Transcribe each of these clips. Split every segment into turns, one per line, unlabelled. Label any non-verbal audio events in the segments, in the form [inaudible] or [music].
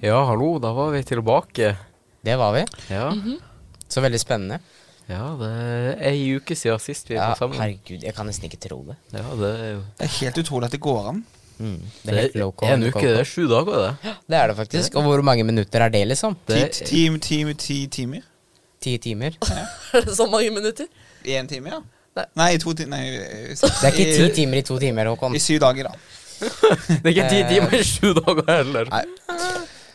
Ja, hallo, da var vi tilbake.
Det var vi.
Ja,
Mhm.
Så veldig spennende.
ja det er ei uke siden sist vi
Ja,
var sammen.
herregud, jeg kan nesten ikke tro det.
Ja, det er jo
Det er helt utrolig at det går an.
Det er helt loco.
en uke, Hmm. det er sju dager, det.
Det er det faktisk. Og hvor mange minutter er det, liksom?
det
Ti, ti, ti, ti timer.
Ti timer?
[laughs] Er det så mange minutter?
Én time, ja?
Nei.
Nei, i to timer Nei,
Det er ikke ti timer i to timer,
I,
Håkon.
I syv dager, da.
det er ikke ti timer, sju dager heller.
Nei.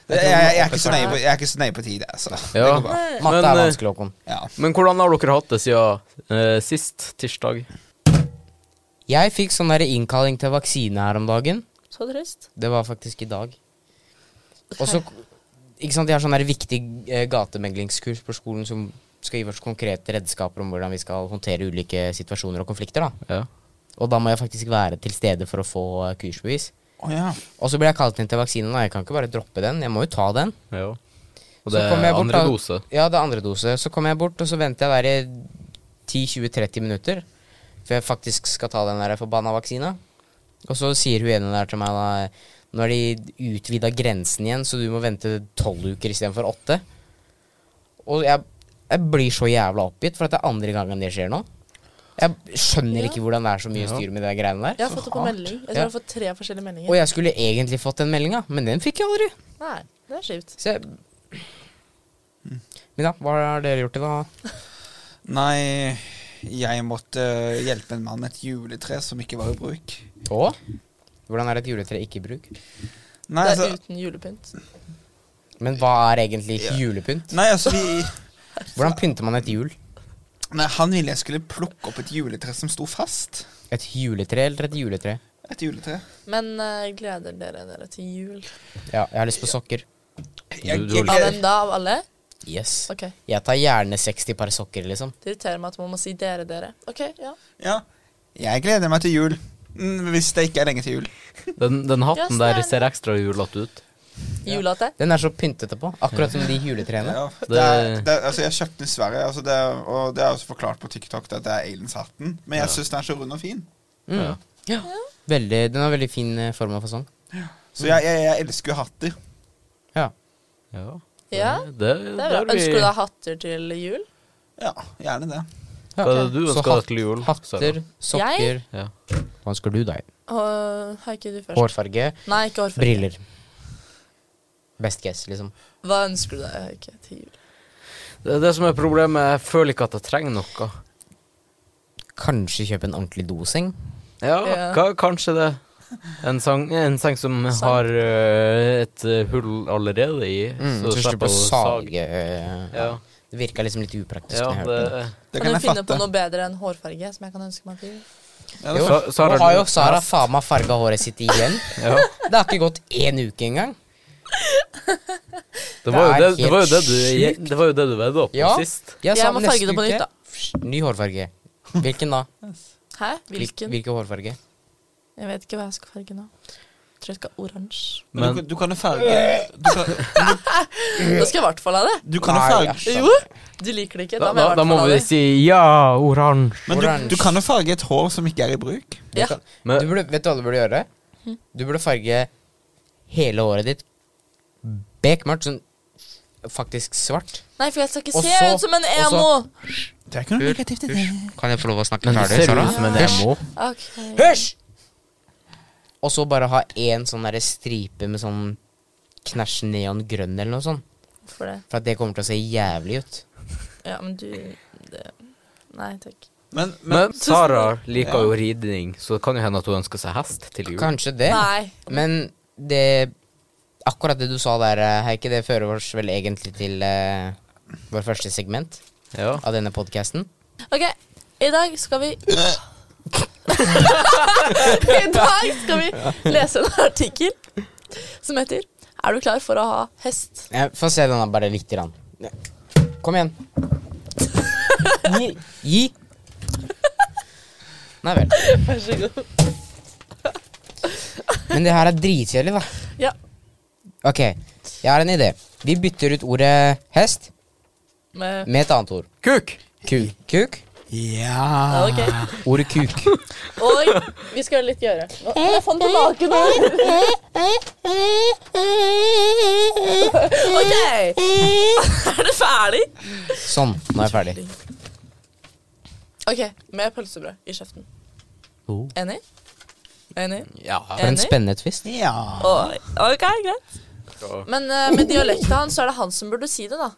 Jeg, jeg, jeg, er ikke så nøye på, jeg er ikke så nøye på tid, altså. Det
Ja.
går bra.
Matte
Men,
er
eh,
vanskelig, Håkon.
Ja.
Men hvordan har dere hatt det siden eh, sist tirsdag?
Jeg fikk sånn der innkalling til vaksine her om dagen.
Så trist.
Det var faktisk i dag. Og så Ikke sant, de har sånn der viktig eh, gatemeglingskurs på skolen som skal gi oss konkrete redskaper om hvordan vi skal håndtere ulike situasjoner og konflikter, da.
Ja.
Og da må jeg faktisk være til stede for å få eh, kursbevis.
Å ja.
Og så ble jeg kalt inn til vaksinen, og jeg kan ikke bare droppe den. Jeg må jo ta den.
ja. Og
Så
det
kom jeg
er
bort
andre
da-
dose.
Ja, det er andre dose. Så kommer jeg bort, og så venter jeg der i 10-20-30 minutter før jeg faktisk skal ta den der forbanna vaksina. Og så sier hun ene der til meg da Nå har de utvida grensen igjen, så du må vente tolv uker istedenfor åtte. Og jeg, jeg blir så jævla oppgitt, for at det er andre gangen det skjer nå. Jeg skjønner
Ja.
ikke hvordan det er så mye styr med de greiene
Jeg
der.
har fått det på melding. Jeg tror
Ja.
jeg har fått tre
Og
forskjellige meldinger.
jeg skulle egentlig fått den meldinga, men den fikk jeg aldri.
Nei, det er skjevt.
Så jeg Mina, hva har dere gjort i dag?
Nei, jeg måtte øh, hjelpe en mann med et juletre som ikke var i bruk.
Og hvordan er et juletre ikke i bruk?
Nei,
det er
altså,
uten julepynt.
Men hva er egentlig julepynt?
nei, altså vi,
Hvordan pynter man et jul?
nei, Han ville jeg skulle plukke opp et juletre som sto fast.
Et juletre eller et juletre?
Et juletre.
Men eh, gleder dere dere til jul?
Ja, jeg har lyst på sokker.
Jeg,
Du- du-
jeg,
Av
jeg,
hvem da? Av alle?
Yes.
Ok.
Jeg tar gjerne 60 par sokker, liksom.
Det irriterer meg at man må si dere, dere. Ok, ja.
ja, jeg gleder meg til jul. Mm, Hvis det ikke er lenge til jul.
Den, den hatten
Yes,
der
det er-
ser ekstra julete ut.
Julete.
Den er så pyntete på. Akkurat som de juletrene.
Ja, det er, det er, altså jeg kjøpte den i Sverige, altså det er, og det er også forklart på TikTok at det er aliens-hatten. Men jeg syns den er så rund og fin.
Mm.
Ja.
Ja. Veldig, den har veldig fin eh, form og fasong.
Så jeg, jeg, jeg elsker jo hatter.
Ja.
Ja.
Ja,
Det, det,
Det er bra.
bør vi-
Ønsker du deg hatter til jul?
Ja, gjerne det.
Hva er det du
Så
ønsker deg til jul?
Hatter,
Sara?
sokker
Ja.
Hva ønsker du deg?
Og har ikke du først?
Hårfarge,
Nei, ikke hårfarge.
briller. Best guess, liksom.
Hva ønsker du deg Hauke, til jul?
Det er det som er problemet. Jeg føler ikke at jeg trenger noe.
Kanskje kjøpe en ordentlig doseng?
Ja,
Ja.
ka kanskje det. En, sang, en seng som
Sang.
har ø, et ø, hull allerede i,
Mm,
så du slipper å sage.
eh,
Ja,
Det virka liksom litt upraktisk.
ja
når jeg
det,
hørte det.
Det
Kan
kan
du
jeg
finne på
fatte.
noe bedre enn hårfarge som jeg kan ønske meg til jul?
Ja, det
Jo,
Sa- Sara,
nå har
du-
jo Sara faen meg farga håret sitt igjen.
ja.
Det har ikke gått én uke engang.
Det, var jo
Det er
det, det, var jo det,
helt
du, det var jo det du vedda på
Ja.
sist.
Jeg,
Jeg må farge det på nytt, da.
Ny hårfarge. Hvilken da?
Hæ?
Hvil-
Hvilken?
Hvilken hårfarge?
Jeg vet ikke hva jeg skal farge nå. Jeg tror jeg skal ha oransje.
Men du, du kan jo farge Du kan,
Da skal jeg i hvert fall ha det.
du kan jo
Nei,
farge
ja.
Jo, du liker det ikke.
Da,
må jeg
da,
i hvert
da må
fall ha
vi
det.
si ja, oransje.
Men du, du kan jo farge et hår som ikke er i bruk.
Ja. Hm?
Du
Men
burde, vet du hva du burde gjøre? Du burde farge hele håret ditt bekmørkt, sånn faktisk svart.
Nei, for jeg skal ikke
Og
se
så-
ut som en
og
emo.
så-
Det er ikke noe negativt i det.
Kan jeg få lov å snakke
men du ser ut som en
Hysj!
emo.
Ok.
Hysj! Og så bare ha én sånn derre stripe med sånn knæsj neon grønn eller noe sånt.
Hvorfor det?
For at det kommer til å se jævlig ut.
Ja, men du det. Nei takk.
Men, men
Men Sara liker jo ridning, så det kan jo hende at hun ønsker seg hest til jul.
Kanskje det.
Nei.
Men det Akkurat det du sa der, eh, Heike, det fører oss vel egentlig til eh, vår første segment
Ja.
av denne podkasten.
Ok, i dag skal
[laughs]
vi [laughs] I dag skal vi lese en artikkel som heter Er du klar for å ha hest?
Få se denne bare lite grann. Kom igjen. Gi. Gi. Nei vel.
Vær så god.
Men det her er dritkjedelig, da.
Ja.
Ok, jeg har en idé. Vi bytter ut ordet hest
Med
med et annet ord.
Kuk!
Kuk. Kuk. Ja
Ah.
Ok.
Ordet kuk.
Og vi skal gjøre litt gjøre. Nå, jeg fant på naken her. OK. [laughs] Er det ferdig?
Sånn, nå er jeg ferdig.
OK. Med pølsebrød i kjeften.
Oh.
Enig? Enig?
Ja.
For en
Enig?
spennende twist.
Ja.
Oi, OK, greit. Men eh, med dialekta hans, så er det han som burde si det, da.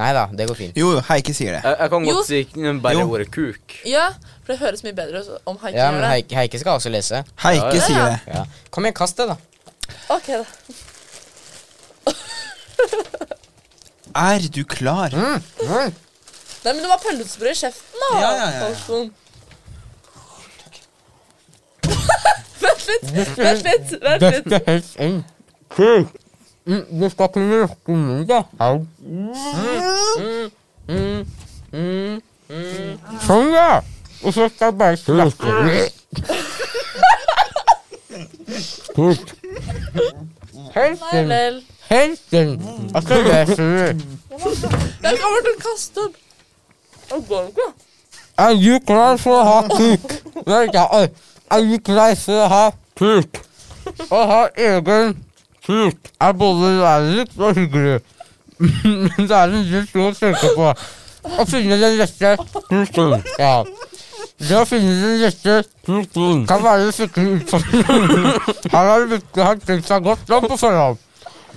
Nei da, det går fint.
Jo, Heike sier det.
Jeg, jeg kan
Jo.
godt si bare
Jo.
ordet kuk.
Ja, for det høres mye bedre ut om Haiken
Ja, men
gjør det.
Heike, Heike skal også lese.
Heike
Ja, ja.
sier det.
Ja. Kom igjen, kast det, da.
Ok, da.
Er du klar?
Mm.
Nei, men det var pølsebrød i kjeften, da.
Ja, ja, ja, ja.
Karlsson. Vent litt, vent litt. vent litt
er helt eng. Kuk. Du skal kunne lukke munnen, da. Au. Mm, Sånn, ja. Og så skal jeg bare snakke. Kuk. Helt
Nei vel.
Helt inn. Og så leser du.
Jeg kommer til å kaste opp. Det går ikke.
Er du klar for å ha kuk? Nei, ja, oi. Er du klar for å ha kuk? Å ha egen kuk er både lærerikt og hyggelig. Men det er en litt å tenke på. Å finne den rette kuken. Ja. Det å finne den rette kuken kan være en skikkelig utfordring. Her er det viktig å ha tenkt seg godt om på forhånd.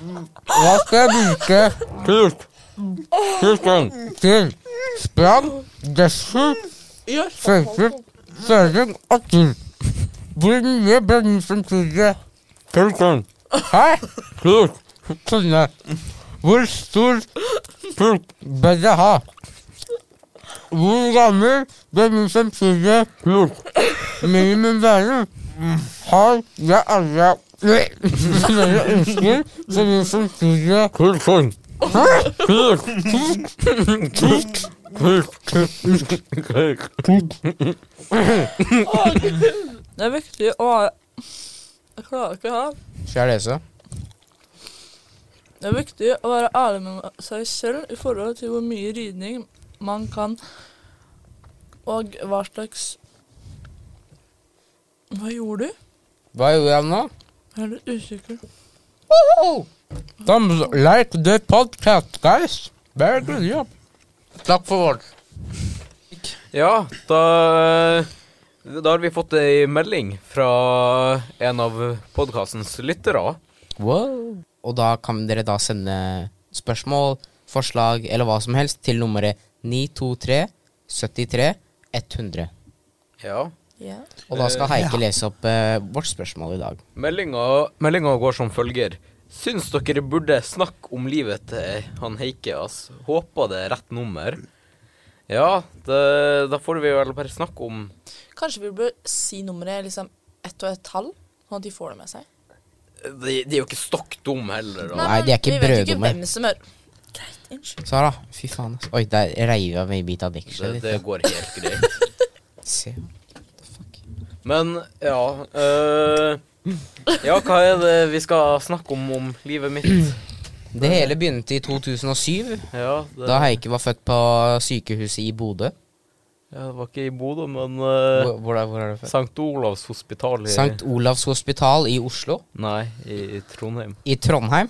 Hva skal jeg bruke kuk kuken til? Sprang, dessert,
Gjør sånn.
Selvsagt Søring og tur. Hvor mye brenner samtidig? Pulken. Hæ? Pulk. Sånne. Sånn Hvor stor pulk bør jeg ha? Hvor gammel brenner samtidig? Pulk. Minimum verden. Har jeg alle flere ønsker som er samtidig? Pulken. Hæ? Pulk. Pulk. Pulk. Pulk. Pulk. Pulk.
Det er viktig å ha Jeg klarer ikke å ha
Skal jeg lese?
Det er viktig å være ærlig med seg selv i forhold til hvor mye ridning man kan, og hva slags Hva gjorde du?
Hva gjorde jeg nå?
Jeg er litt usikker.
Thumbs like the podcast, guys. Very good job. Takk for vårt.
Ja, da eh, Da har vi fått ei melding fra en av podkastens lyttere.
Wow. Og da kan dere da sende spørsmål, forslag eller hva som helst til nummeret 923 73 100.
Ja.
Ja.
Og da skal
Eh,
Heike lese opp eh, vårt spørsmål i dag.
Meldinga, meldinga går som følger. Syns dere burde snakke om livet til han Heike, ass. Håper det er rett nummer. Ja, det, da får vi vel bare snakke om
Kanskje vi bør si nummeret liksom ett og et tall, sånn at de får det med seg.
De, de er jo ikke stokk dumme heller. Da.
Nei, de er ikke
vi vet jo ikke
brøddumme.
hvem som er Greit, unnskyld.
Sara, fy faen. ass. Oi, der reiv jeg meg i bit av
Det,
dekselet
det
ditt.
går helt greit.
Se.
Men ja øh, Ja, hva er det vi skal snakke om om livet mitt?
Det hele begynte i 2007,
Ja, det,
da Heike var født på sykehuset i
Eh.
Bodø.
ja, det var ikke i Bodø, men øh,
Hvor, hvor, er- hvor er det født?
Sankt Olavs hospital i
Sankt Olavs hospital i Oslo.
Nei, i Trondheim.
I Trondheim.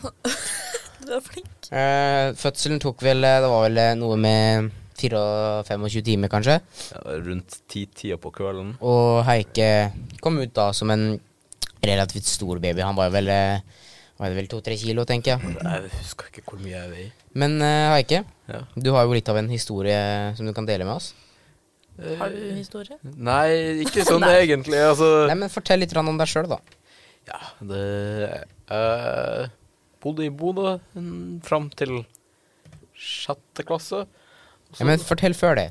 Du er flink.
Eh, fødselen tok vel eh, Det var vel eh, noe med 24-25 timer, kanskje.
Ja, rundt ti-tida på kvelden.
Og Heike kom ut da som en relativt stor baby. Han var vel eh, var det vel to-tre kilo, tenker jeg.
Jeg husker ikke hvor mye jeg veier.
Men eh, Heike,
Ja.
du har jo litt av en historie som du kan dele med oss.
Har du en historie?
Nei, ikke [laughs] sånn egentlig. Altså
Nei, men Fortell litt grann om deg sjøl, da.
Ja, det eh, Bodde i Bodø mm, fram til sjette klasse. Så-
Ja, men Fortell før det.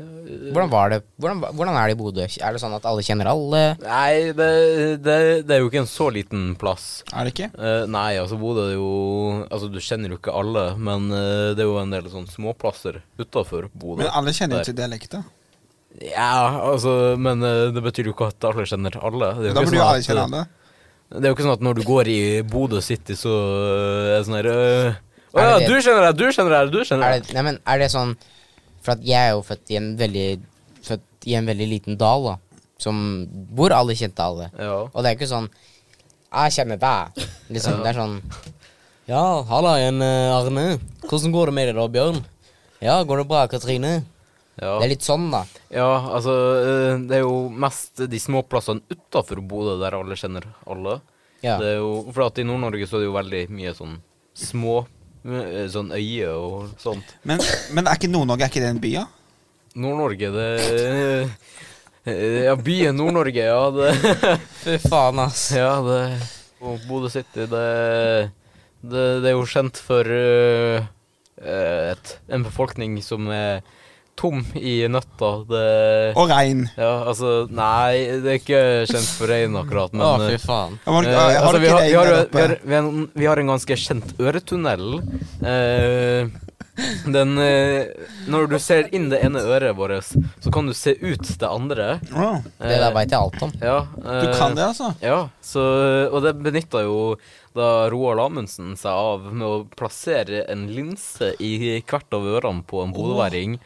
Eh,
Hvordan var det? Hvordan, hvordan er det i Bodø? Er det sånn at alle kjenner alle?
Nei, det, det, det er jo ikke en så liten plass.
Er det ikke?
Eh, nei, altså Bodø er jo Altså, du kjenner jo ikke alle, men eh, det er jo en del sånn småplasser utafor Bodø.
Men alle kjenner
Der.
jo til dialekter.
Ja, altså, men eh, det betyr jo ikke at alle kjenner alle. Det er jo
Da
ikke
burde
sånn
jo alle
at,
kjenne
eh,
alle.
Det er jo ikke sånn at når du går i Bodø City, så øh, er det sånn her øh, Å
Er
ja,
det det?
du kjenner det, du kjenner det, du kjenner
Er
det.
det, nei, men er det sånn For at jeg er jo født i en veldig født i en veldig liten dal, da. Som, hvor alle kjente alle.
Ja.
Og det er ikke sånn Jeg kjenner deg.
Ja.
Liksom, Det er sånn Ja, halla igjen, eh, Arne. Hvordan går det med deg da, Bjørn? Ja, går det bra, Katrine?
Ja.
Det er litt sånn, da.
ja, altså eh, Det er jo mest de små plassene utafor Bodø der alle kjenner alle.
Ja.
Det er jo, for at i Nord-Norge så er det jo veldig mye sånn små eh, Sånn øye og sånt.
Men, men er ikke Nord-Norge er ikke det en by, da?
Nord-Norge, det eh, Ja, byen Nord-Norge, ja. Det,
Fy faen, ass.
ja, det Og Bodø City, det, det Det er jo kjent for eh, et, en befolkning som er tom i nøtter. Det
Og regn.
Ja, altså Nei, det er ikke kjent for rein akkurat, men
Å, fy
eh,
faen.
Ja, Har,
eh,
har, ah, har
altså,
du
vi,
ikke
har,
regn
vi, har,
der
jo- vi,
oppe?
har, vi, har en, vi har en ganske kjent øretunnel. Eh, den eh, Når du ser inn det ene øret vårt, så kan du se ut det andre.
Wow.
eh,
Det der veit jeg alt om.
Ja,
Du
eh,
kan det, altså?
Ja, så, og det benytta jo da Roald Amundsen seg av med å plassere en linse i hvert av ørene på en bodøværing.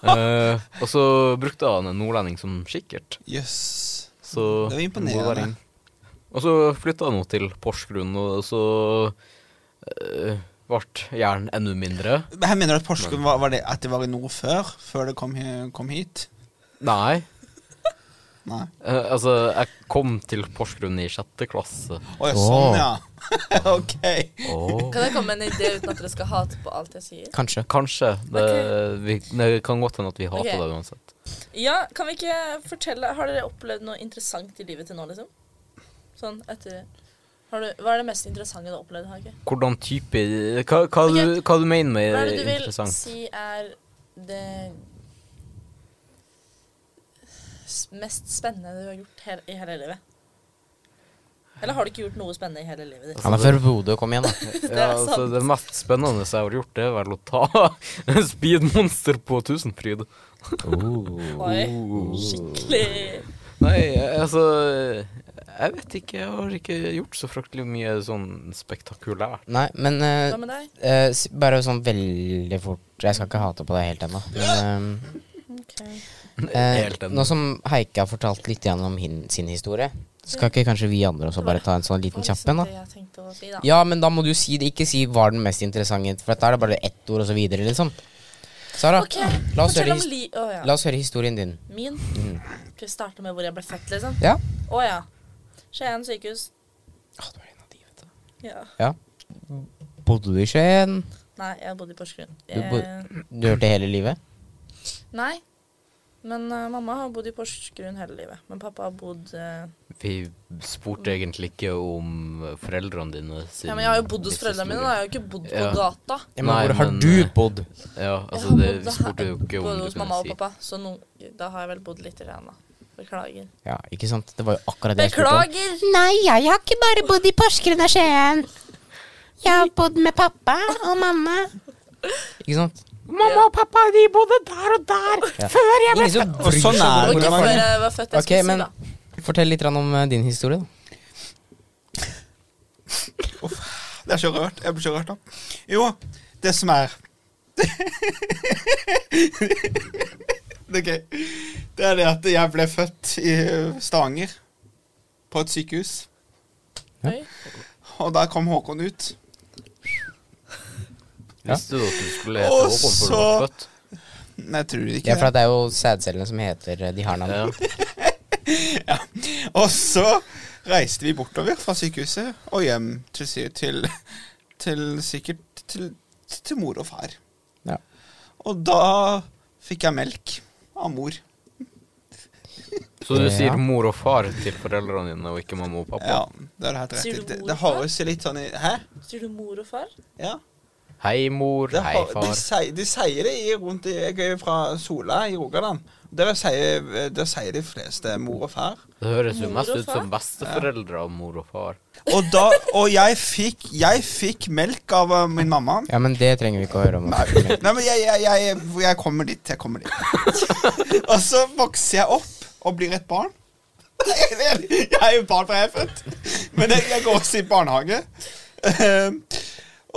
Eh, og så brukte han en nordlending som kikkert.
Jøss.
Så
Det var imponerende.
Bodøværing. Og så flytta han nå til Porsgrunn, og så eh, ble jern enda mindre.
Men Her mener du at Porsgrunn var, var det at det var i nord før? Før det kom, hi- kom hit?
Nei.
Nei.
eh, altså, jeg kom til Porsgrunn i sjette klasse.
Å ja, [laughs] sånn, ja. ok.
Åh.
Kan jeg komme med en idé uten at dere skal hate på alt jeg sier?
Kanskje.
Kanskje. Det, vi, det kan godt hende at vi hater
Ok.
det uansett.
Ja, kan vi ikke fortelle Har dere opplevd noe interessant i livet til nå, liksom? Sånn etter har du, Hva er det mest interessante du har opplevd, Hage?
Hvordan type Hva, hva, du, hva du mener med
Hva er det du vil
interessant?
si er det s- mest spennende du har gjort he i hele livet? Eller har du ikke gjort noe spennende i hele livet ditt?
Han er fra Bodø, kom igjen, da.
Det er
Ja, altså,
sant.
det mest spennende jeg har gjort, det er vel å ta [laughs] speedmonster på Tusenfryd.
Oi,
Oh.
skikkelig
Nei, altså Jeg vet ikke. Jeg har ikke gjort så fryktelig mye sånn spektakulært.
Nei, men eh,
Hva med deg?
eh, s- bare sånn veldig fort Jeg skal ikke hate på deg helt ennå. Men,
[laughs]
eh, eh,
Helt ennå.
nå som Heike har fortalt litt grann om hin, sin historie, skal ikke kanskje vi andre også bare ta en sånn liten kjapp en, da?
Det jeg tenkte å si, da.
Ja, men da må du si det. Ikke si 'var den mest interessante', for da er det bare ett ord, og så videre, liksom. Sara,
Ok,
la, oss
fortell
høre
om
his-
li... Å ja.
la oss høre historien din. Mhm.
Min? Skal vi starte med hvor jeg ble født, liksom?
Ja?
Å ja. Skien sykehus. Ja.
ja. Bodde du i Skien?
Nei, jeg bodde i Porsgrunn.
Du
Jeg...
bod- Du hørte hele livet?
Nei. Men eh, mamma har bodd i Porsgrunn hele livet. Men pappa har bodd eh,
Vi spurte egentlig ikke om foreldrene dine sin
Ja, men jeg har jo bodd hos foreldrene mine, da. Jeg har jo ikke bodd på
Ja.
gata.
Ja, men
Nei,
hvor har
men,
du
eh,
bodd?
Ja, altså,
Jeg har
det,
bodd
vi
her-
spurte jo ikke om
både
du
hos mamma
kunne
og
si
pappa, så noen, da har jeg vel bodd litt i Rena. Beklager.
Ja, ikke sant? Det var jo akkurat det jeg spurte om.
Beklager!
Nei, jeg har ikke bare bodd i Porsgrunn og Skien. Jeg har bodd med pappa og mamma.
Ikke sant?
Mamma
og pappa de bodde der og der før jeg
Ingen som bryr
sånn
seg
er
Det
om
det.
var ikke
Hvordan var
før jeg var født, jeg
Ok,
skulle
men
si,
fortell litt grann om eh, din historie, da.
Det er så rørt. Jeg blir så rørt, da. Jo, det som er [laughs] Det er gøy. Det er det at jeg ble født i Stavanger, på et sykehus.
da. Oi.
Og der kom Håkon ut.
Visste du at du skulle
Og
hete Håkon før du
så-
var født?
Nei, jeg tror ikke
Ja, for
det.
at det er jo sædcellene som heter eh, De har navn.
Ja.
Og så reiste vi bortover fra sykehuset og hjem til, sy- til, til sikkert til, til mor og far.
Ja.
Og da fikk jeg melk av mor.
Så du
Ja.
sier mor og far til foreldrene dine, og ikke mamma og pappa?
Ja, det er det helt rett i.
Sier du
Det,
mor
det
og far?
høres jo litt sånn i Hæ?
Sier du mor og far?
Ja.
Hei, mor.
Det,
Hei,
har- de,
far.
sier, de sier det i, rundt i, Jeg er jo fra Sola i Rogaland. Der sier, der sier de fleste mor og far.
Det høres jo
Mor
mest
og
ut
far?
som besteforeldre av mor og far.
Og, da, og jeg, fikk, jeg fikk melk av eh, min mamma.
Ja, men det trenger vi ikke å høre om.
Nei, nei men jeg, jeg, jeg, jeg kommer dit. Jeg kommer dit. og så vokser jeg opp og blir et barn. Jeg er jo barn fra jeg er født, men jeg, jeg går også i barnehage. Eh,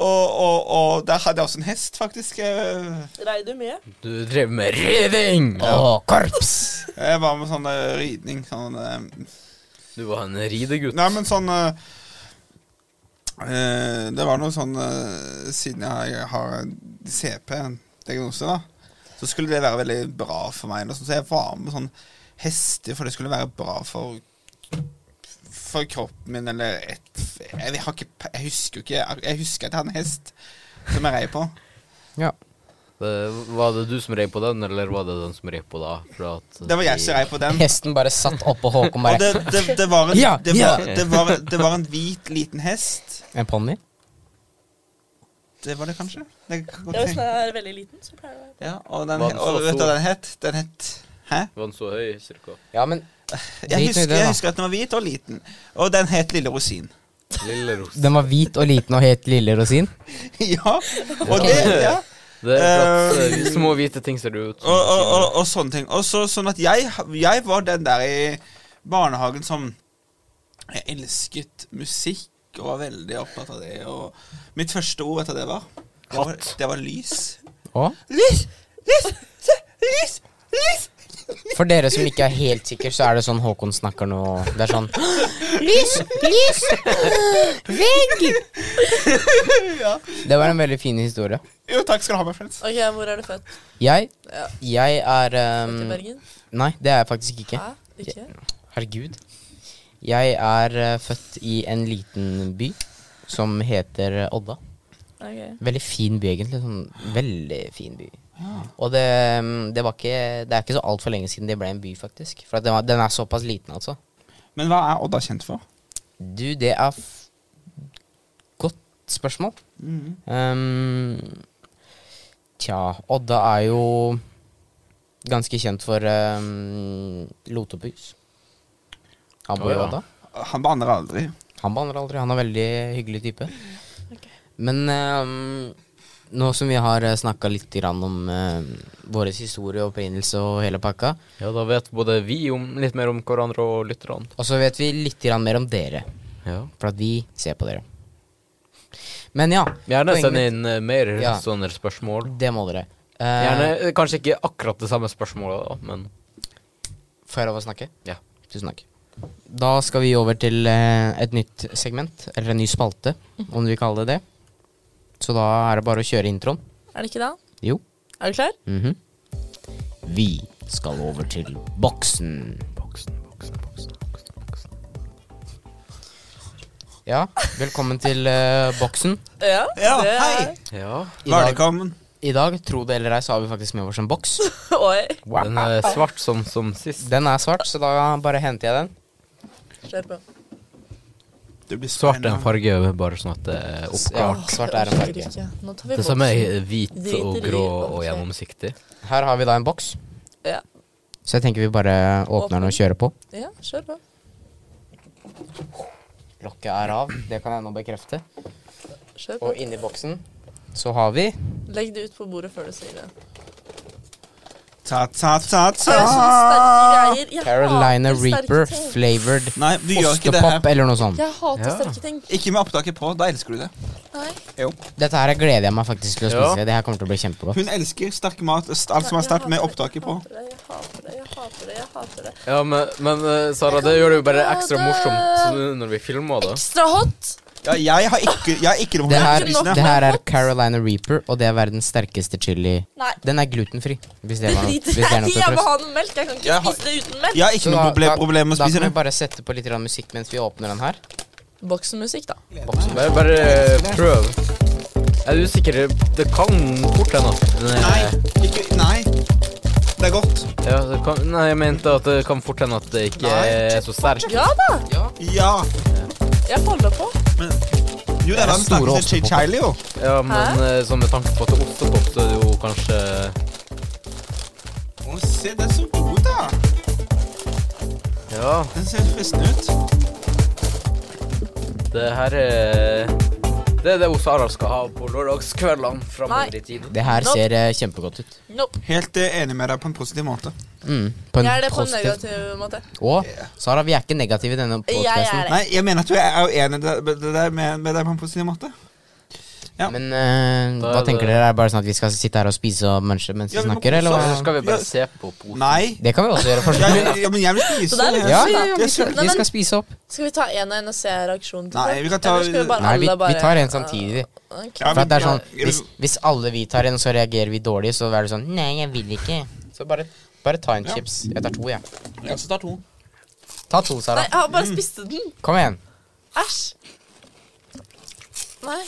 Og, og, og der hadde jeg også en hest, faktisk. Jeg
Rei du mye?
Du drev med riding!
Å, korps!
jeg var med sånn eh, ridning. Sånn, eh,
Du var en ridegutt.
nei, men sånn eh, eh, Det var noe sånn eh, Siden jeg har CP-diagnose, da, så skulle det være veldig bra for meg. eller sånn, Så jeg var med sånn hester, for det skulle være bra for for kroppen min, eller et Jeg, har ikke, pe- jeg husker jo ikke Jeg husker at jeg hadde en hest som jeg rei på.
Ja.
Det- Var det du som rei på den, eller var det den som rei på da? For at
Det var jeg som rei på den.
Hesten bare satt oppå Håkon
Og
bare
det, det, det, var en,
Ja,
det,
ja.
var, det, var, det var en hvit, liten hest.
En ponni?
Det var det kanskje? Det kan
Ja,
godt
Hvis den
hende.
er veldig liten, så pleier det å være
Ja, og den,
Var den så
og vet du
stor?
hva den het? Den het Hæ?
Var den så høy, cirka?
Ja, men Drit nå i
Jeg husker,
det, da.
jeg husker at den var hvit og liten. Og den het Lille Rosin. [laughs]
Lille ros.
den var hvit og liten og het Lille Rosin.
ja. Og det ja.
Det er for at
Eh,
eh, små hvite ting ser ut
Og, og, og, og sånne ting. Og så, sånn at jeg, jeg var den der i barnehagen som Jeg elsket musikk og var veldig opptatt av det. Og mitt første ord, vet du hva det var? Det var,
Katt.
det var lys.
Å?
Lys! Lys! Se! Lys! Lys!
For dere som ikke er helt sikre, så er det sånn Håkon snakker nå. Det er sånn
Lys, lys, vegg.
Det var en veldig fin historie.
Jo, takk skal du ha, my friends.
Ok, hvor er du født?
Jeg
Ja.
Jeg er ehm,
Til Bergen?
Nei, det er jeg faktisk ikke.
Hæ? Ikke?
Herregud. Jeg er eh, født i en liten by som heter Odda.
Ok.
Veldig fin by, egentlig. Sånn veldig fin by. Og det, mm, det var ikke Det er ikke så altfor lenge siden det ble en by, faktisk. For at den, var, den er såpass liten, altså.
Men hva er Odda kjent for?
Du, det er f Godt spørsmål. Mm. Ehm, tja, Odda er jo ganske kjent for um, Lotepus. Han bor
Å,
i
ja.
Odda.
Han banner aldri.
Han banner aldri. Han er veldig hyggelig type. Men ehm, nå som vi har snakka litt grann om uh, vår historie og opprinnelse og hele pakka,
Ja, da vet både vi om, litt mer om hverandre og lytterne.
og så vet vi litt grann mer om dere,
Ja.
for at vi ser på dere. Men ja,
Gjerne
poenget
send
mitt-
inn eh, mer
Ja.
sånne spørsmål.
Det må dere. Eh,
Gjerne, eh, Kanskje ikke akkurat det samme spørsmålet, da, men
Får jeg lov å snakke?
Ja.
Tusen takk. Da skal vi over til eh, et nytt segment, eller en ny spalte, om du vil kalle det det. Så da er det bare å kjøre introen.
Er det ikke det?
Jo.
Er du klar?
Mhm. Vi skal over til boksen. Ja, velkommen til eh, boksen.
Ja.
Ja,
det er-
hei!
Ja.
I dag,
Velkommen.
I dag, tro det eller ei, så har vi faktisk med oss en boks.
[laughs] Oi.
Den er svart som, som sist.
Den er svart, så da bare henter jeg den.
Kjør på.
Det blir
Svart er en farge, bare sånn at det er
Ja,
oppklart.
svart er en
Orker
farge.
ikke. Nå tar vi
Det samme
boksen.
er hvit og
Driter i
grå
boksen.
og gjennomsiktig.
Her har vi da en boks,
Ja.
så jeg tenker vi bare åpner den og kjører på.
ja, kjør på.
Lokket er av, det kan jeg nå bekrefte.
Kjør på.
Og inni boksen så har vi
Legg det ut på bordet før du sier det.
Ta, ta, ta,
Det
ta.
er sånne sterke greier. Jeg
Carolina
hater sterke
Reaper
ting.
flavored
Nei, vi gjør ikke det
ostepop
her.
eller noe sånt.
Jeg hater
Ja.
sterke ting.
Ikke med opptaket på. Da elsker du det.
Nei.
Jo.
Dette her gleder jeg meg faktisk til å
Ja.
spise. Det her kommer til å bli kjempegodt.
Hun elsker sterk mat, st- alt som er
Jeg
sterkt, med
hater det,
opptaket på.
Jeg hater det, jeg hater det, jeg hater det.
Ja, men, men eh, Sara, det gjør det jo bare ekstra morsomt eh, når vi filmer det.
Ekstra hot!
Ja, jeg har ikke, jeg har ikke noe
Det
problem med
her,
å spise
det
det.
her er Carolina Reaper, og det er verdens sterkeste chili.
Nei.
Den er glutenfri. Hvis det
Det
var noe. Hvis
driter
det er
jeg
noe
i. Jeg
trøst.
må ha noe melk. Jeg kan ikke
Jeg har-
spise det uten melk.
Jeg har ikke
Så
noe
da-
proble
da-
problem med å
Da
spise
kan
det.
vi bare sette på litt grann musikk mens vi åpner den her.
Boksemusikk, da.
Bare, bare eh, prøv. Jeg er usikker. Det kan fort hende at den er-
Nei, ikke, nei. Det er godt.
Ja, det kan, nei, jeg mente at det kan fort hende at det ikke
Nei.
er så sterk.
Ja da!
Ja.
Jeg holder på.
Men jo, det er den
store
sterkeste
ostepop.
chili, jo.
Ja, men eh, sånn med tanke på at det er ostepop, så er det jo kanskje
Å, se, den er så god, da.
Ja,
Den ser fristende ut.
det her er Det er det hun Sara skal ha på lørdagskveldene framover
Nei.
i tid.
Det her
Nå-
ser eh, kjempegodt ut.
Nope.
Helt eh, enig med deg på en positiv måte.
Mm, på en
Jeg er det på en
positiv
negativ måte.
Og Sara, vi er ikke negative i denne
Jeg er
podkasten.
det.
Nei, jeg mener at du er uenig med deg med deg på en positiv måte. Ja.
Men eh,
Da er
hva
det-
tenker dere? Er det bare sånn at vi skal sitte her og spise og munche mens vi
Ja, vi må
snakker, eller?
kose
Eller
hva?
oss.
skal vi bare
Ja.
se på posen?
Nei.
Det kan vi også gjøre. for så
Ja,
vidt.
men- ja, men jeg vil spise.
Så det er litt
jeg.
Ja,
sykt.
ja, ja, vi skal,
Nei,
vi
men-
skal spise opp.
Skal vi ta én og en og se reaksjonen til
Nei,
folk?
vi kan ta-
Eller skal vi bare
Nei, vi,
alle bare
vi tar en samtidig.
Ok.
Ja,
For at det er sånn,
ja,
hvis, hvis alle vi tar en, så reagerer vi dårlig, så er det sånn Nei, jeg vil ikke. Så bare, bare ta en
Ja.
chips. Jeg tar to, jeg. Ja.
ja, så tar to.
Ta to, Sara.
Nei, jeg bare spiste den.
Kom igjen.
Æsj. Nei.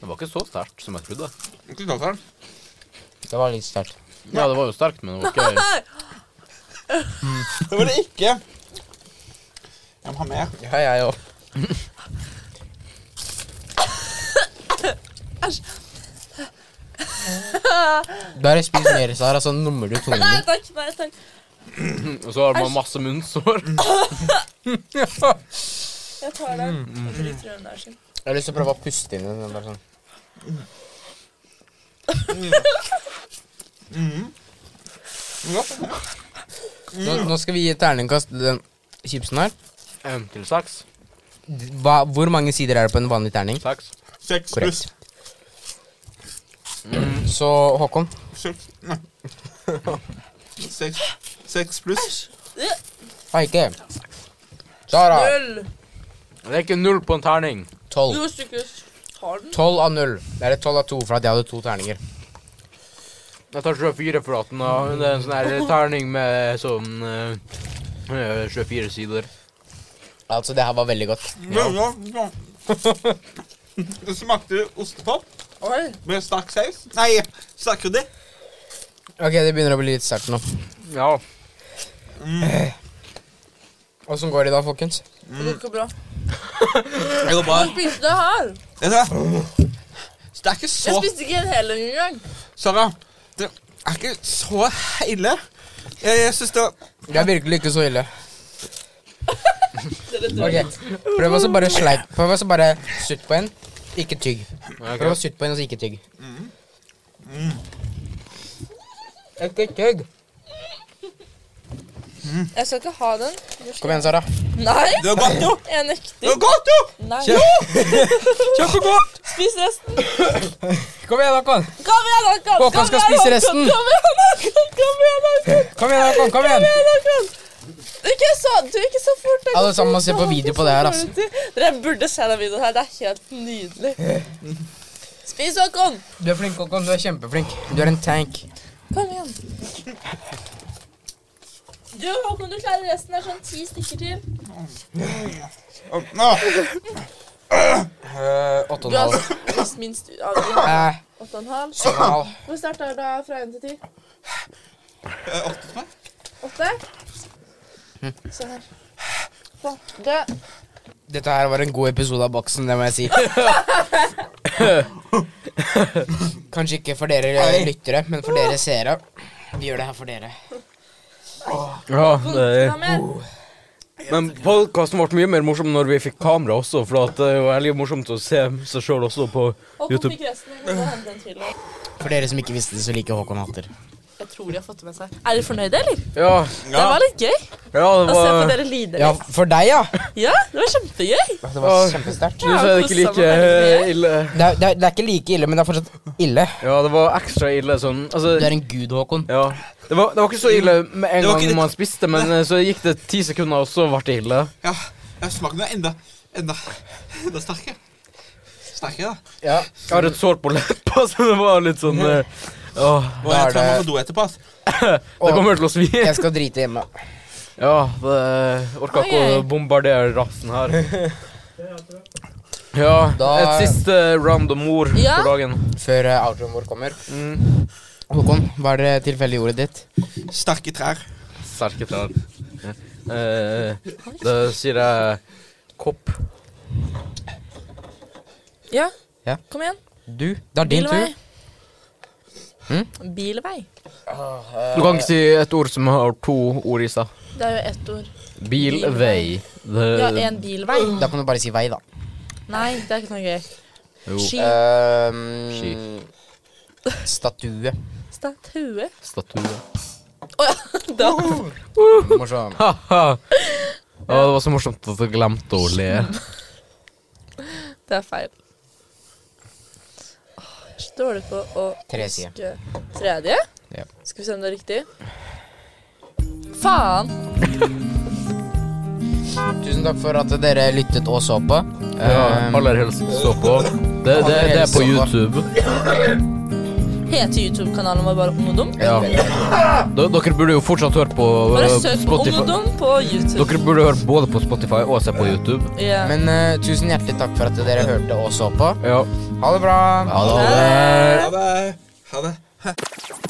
Det var ikke så sterkt som jeg trodde.
Ikke ta den.
Det var litt sterkt.
Ja, det var jo sterkt, men det var [laughs] ikke
Det var det ikke. Jeg må ha mer.
Ja, jeg òg. Bare spis mer, Sara, så nummer du tungen
Nei
din.
takk. Nei takk.
Og så har man masse munnsår.
Jeg tar
Mm,
den. Jeg driter i hvem det er sin.
Jeg har lyst til å prøve å puste inn i den. Bare sånn. Nå, nå skal vi gi et terningkast til den chipsen her.
En til seks.
Hva, hvor mange sider er det på en vanlig terning?
Seks.
Seks pluss.
Korrekt. Så Håkon,
Seks Nei. Seks, seks pluss.
Nei, ikke. Sara,
Null.
Det er ikke null på en terning.
tolv.
Du stykker tar den.
Tolv av null. Det er tolv av to, for at jeg hadde to terninger.
Jeg tar 24 for at den har det er en sånn her terning med sånn eh, eh, 24 sider.
Altså, det her var veldig godt.
Ja. Det smakte ostepop
Oi.
med sterk saus. Nei, sterk krydder.
Ok, det begynner å bli litt sterkt nå.
Ja.
Åssen går det da, folkens?
Det går ikke bra.
Det går bra.
Jeg spiste det her.
Det er, så det er ikke
Jeg
så
spiste ikke en hel engang.
Sara, det er ikke så ille. Jeg, jeg syns det
Det er virkelig ikke så ille.
Det er litt
Ok, Prøv også bare sleip. Prøv også bare sutt på en, ikke tygg.
ok.
Prøv å sutte på en, og så ikke tygg. Ikke tygg.
Jeg skal ikke ha den. Hvor skal
Kom igjen, Sara.
jeg- Nei,
Det var godt, jo!
jeg
Det
nekter.
var godt, jo!
Nei.
Kjempegodt!
[laughs] Spis resten.
Kom igjen, Håkon.
Kom igjen, Håkon.
Håkon
Kom
skal
igjen,
spise
Håkon.
resten.
Kom igjen, Håkon. Kom igjen, Håkon.
Kom igjen, Håkon. kom igjen.
Ikke så, du, ikke så fort. Håkon.
Alle sammen må se på video på det her, ass.
Dere burde se den videoen her. Det er helt nydelig. Spis, Håkon.
Du er flink, Håkon. Du er kjempeflink. Du er en tank.
Kom igjen. Du, Håkon, du klarer resten. Det er sånn ti stykker til.
Å, Nå.
Eh, Åtte og
Du
en
har
halv.
spist minst av de her.
Eh,
Åtte og en halv.
syv og en halv.
Hvor sterkt er det fra én til ti?
Eh, åtte til meg.
Åtte?
Hm.
Se her. Sånn. Det
Dette her var en god episode av Boksen, det må [laughs] jeg si. Kanskje ikke for dere eh, lyttere, men for dere seere. Vi gjør det her for dere.
Ja,
Ta mer.
Men podkasten ble mye mer morsom når vi fikk kamera også, for at det var veldig morsomt å se seg sjøl også på
Håkon
YouTube.
fikk resten. Jeg må hente en til. også.
For dere som ikke visste det, så liker Håkon hatter.
Jeg tror de har fått det med seg. Er dere fornøyde, eller?
Ja,
Det var litt gøy
ja det
å se på
var
dere lide.
Ja,
litt.
for deg, ja.
Ja, det var kjempegøy.
Det var kjempesterkt.
Du sa det ikke
Ja, kosa meg
like eh,
veldig mye.
ille.
Det, er- det, er- det er ikke like ille, men det er fortsatt ille.
Ja, det var ekstra ille sånn.
Du
Altså,
er en gud, Håkon.
ja. Det var, det var ikke så ille med en
Det var
gang
ikke-
man spiste, men eh, så gikk det ti sekunder, og så ble det ille.
Ja, jeg smaker noe enda, enda, enda sterkere. Sterkere, da.
Ja.
Jeg har et sår på leppa, [laughs] så det var litt sånn eh, Åh,
Og
Da er
jeg tror jeg må
det-
på do etterpå. ass.
det kommer til å svi.
Jeg skal drite hjemme.
Ja, det orka ikke å
Ok.
bombardere rassen her. Ja, et
Da-
siste random ord
Ja.
for dagen.
Før eh, outroen vår kommer.
Mm.
Håkon, hva er det tilfeldige ordet ditt?
Sterke trær.
Sterke trær. Eh, da sier jeg kopp.
Ja.
Ja.
Kom igjen.
Du. Det er din tur.
Hmm?
Hm? Bilvei.
Du kan ikke si et ord som har to ord i seg.
Det er jo ett ord.
Bilvei.
Ja,
Det,
en bilvei.
Da kan du bare si vei, da.
Nei, det er ikke noe gøy.
jo,
Ski.
Ehm,
Ski.
statue.
Statue.
statue.
Å ja. [laughs] Da.
Morsom.
Ha-ha. Å, det var så morsomt at jeg glemte å le.
Det er feil. dårlig på å
Tredje.
huske Tredje?
Ja.
Skal vi se om det er riktig? Faen!
Tusen takk for at dere lyttet og så på. Eh,
aller helst stå på. Det, det, det er på YouTube.
Heter YouTube-kanalen vår bare Ungdom?
Ja. D- Dere burde jo fortsatt høre på eh,
Bare søk på
Spotify.
Ungdom på YouTube.
Dere burde høre både på Spotify og se på YouTube.
Ja.
men eh, tusen hjertelig takk for at dere hørte og så på.
Ja.
Ha det bra.
Ha det.
Ha det. Ha det.